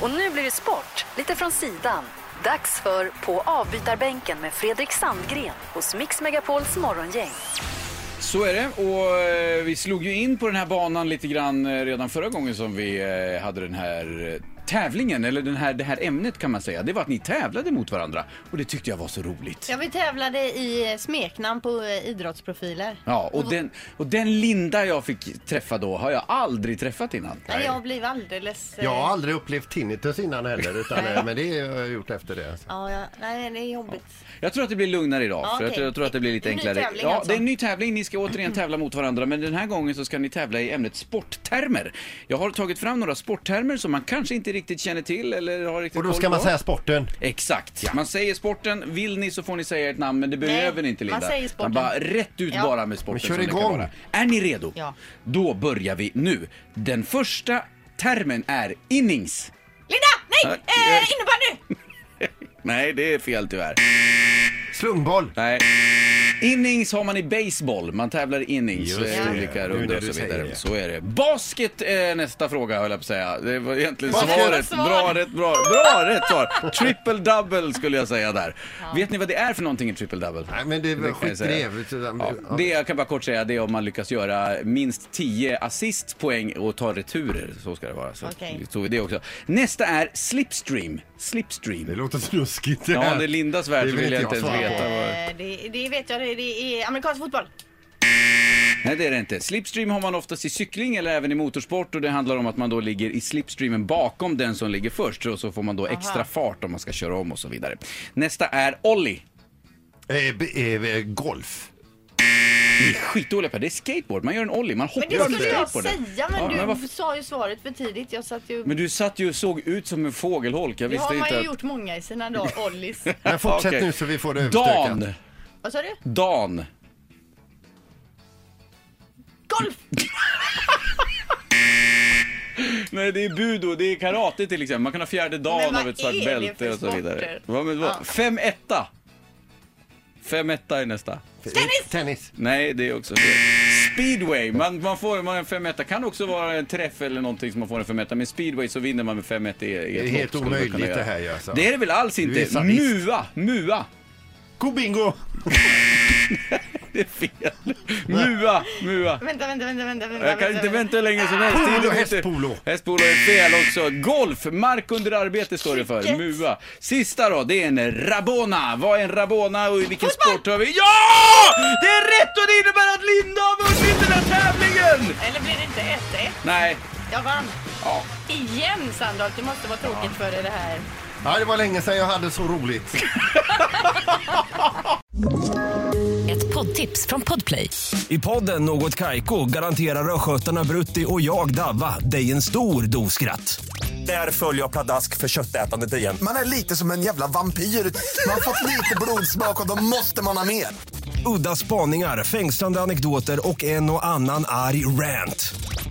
Och nu blir det sport, lite från sidan. Dags för På avbytarbänken med Fredrik Sandgren hos Mix Megapols morgongäng. Så är det och eh, vi slog ju in på den här banan lite grann eh, redan förra gången som vi eh, hade den här eh, tävlingen, eller den här, det här ämnet kan man säga. Det var att ni tävlade mot varandra och det tyckte jag var så roligt. Ja, vi tävlade i eh, smeknamn på eh, idrottsprofiler. Ja, och den, och den Linda jag fick träffa då har jag aldrig träffat innan. Nej. Jag blev alldeles... eh, Jag har aldrig upplevt tinnitus innan heller, utan, eh, men det har jag gjort efter det. Ja, ja, nej, det är jobbigt. Jag tror att det blir lugnare idag, Ja, för jag, okej. tror, jag tror att det blir lite Det är en ny enklare. tävling ja, alltså. det är en ny tävling. Ni ska återigen tävla mot varandra, men den här gången så ska ni tävla i ämnet sporttermer. Jag har tagit fram några sporttermer som man kanske inte riktigt känner till eller har riktigt Och då koll ska man på. säga sporten. Exakt. Man säger sporten, vill ni så får ni säga ert namn men det behöver ni inte Linda. man säger sporten. Man bara rätt ut Ja. bara med sporten Men kör som det kan igång. vara. Är ni redo? Ja. Då börjar vi nu. Den första termen är innings. Linda! Nej! Ja. Eh, innebandy! Nej, det är fel tyvärr. Slungboll. Nej. Innings har man i baseball. Man tävlar i innings. Just eh, det. Olika Nu rundor när och så du säger vidare. det. Så är det. Basket är nästa fråga höll jag på att säga. Det var egentligen Basket. svaret. Svar. Bra, rätt, bra. Bra, rätt svar. Triple double skulle jag säga där. Vet ni vad det är för någonting i triple double? Nej, men det är väl kan jag säga. skitgrev. Ja, Ja, det jag kan bara kort säga det är om man lyckas göra minst 10 assistpoäng och ta returer. Så ska det vara. Så Okej. vi tog det också. Nästa är slipstream. Det Slipstream. låter snuskigt det Ja, här. det är Lindas värld Det så vill vill jag inte inte ens jag veta. svara på. vad- Eh, det, det vet jag, det, det är amerikansk fotboll. Nej, det är det inte. Slipstream har man oftast i cykling eller även i motorsport och det handlar om att man då ligger i slipstreamen bakom den som ligger först och så får man då extra fart om man ska köra om och så vidare. Nästa är ollie. Eh, b- eh, eh, golf. Ni är skitdåliga på det. Det är skateboard. Man gör en ollie. Man hoppar Men det från skulle jag skateboarden. säga, men Ja, du men vad sa ju svaret för tidigt. Jag satt ju... Men du satt ju och såg ut som en fågelholk. Jag det visste har man inte ju att... gjort många i sina dagar, Ollis. Men fortsätt Okej. nu så vi får det Dan! överstökat. Vad sa du? Dan! Golf! Nej, det är budo, det är karate till exempel. Man kan ha fjärde Men dan vad av ett svart är det bälte för och så vidare. sporter? Vad, men, vad? Ja. Fem etta! Fem etta är nästa. Tennis! Eh, Tennis. Nej, det är också fel. Speedway, man, man får man har en 5 Kan också vara en träff eller någonting som man får en 5 Men speedway så vinner man med 5 i, i ett Det är lopp, helt skulle man omöjligt kunna göra. det här ju, alltså. Det är det väl alls är inte? sadist. Mua, mua. Kobingo! Det är fel. Mua, mua. Vänta, vänta, vänta, vänta. vänta Jag kan inte vänta hur länge som helst. Polo, Tiden går inte. hästpolo. Hästpolo är fel också. Golf, mark under arbete står det för. Cricket. MUA. Sista då, det är en rabona. Vad är en rabona och i vilken Fotboll. sport har vi? Ja! Det är rätt och det innebär att Linda har vunnit den här tävlingen! Eller blir det inte 1-1? Nej, Jag vann. ja. Igen Sandholt, det måste vara tråkigt för dig det här. Ja, det var länge sedan jag hade så roligt. Ett poddtips från Podplay. I podden Något Kaiko garanterar östgötarna Brutti och jag, Davva, dig en stor dos skratt. Där följer jag pladask för köttätandet igen. Man är lite som en jävla vampyr. Man har fått lite blodsmak och då måste man ha mer. Udda spaningar, fängslande anekdoter och en och annan arg rant.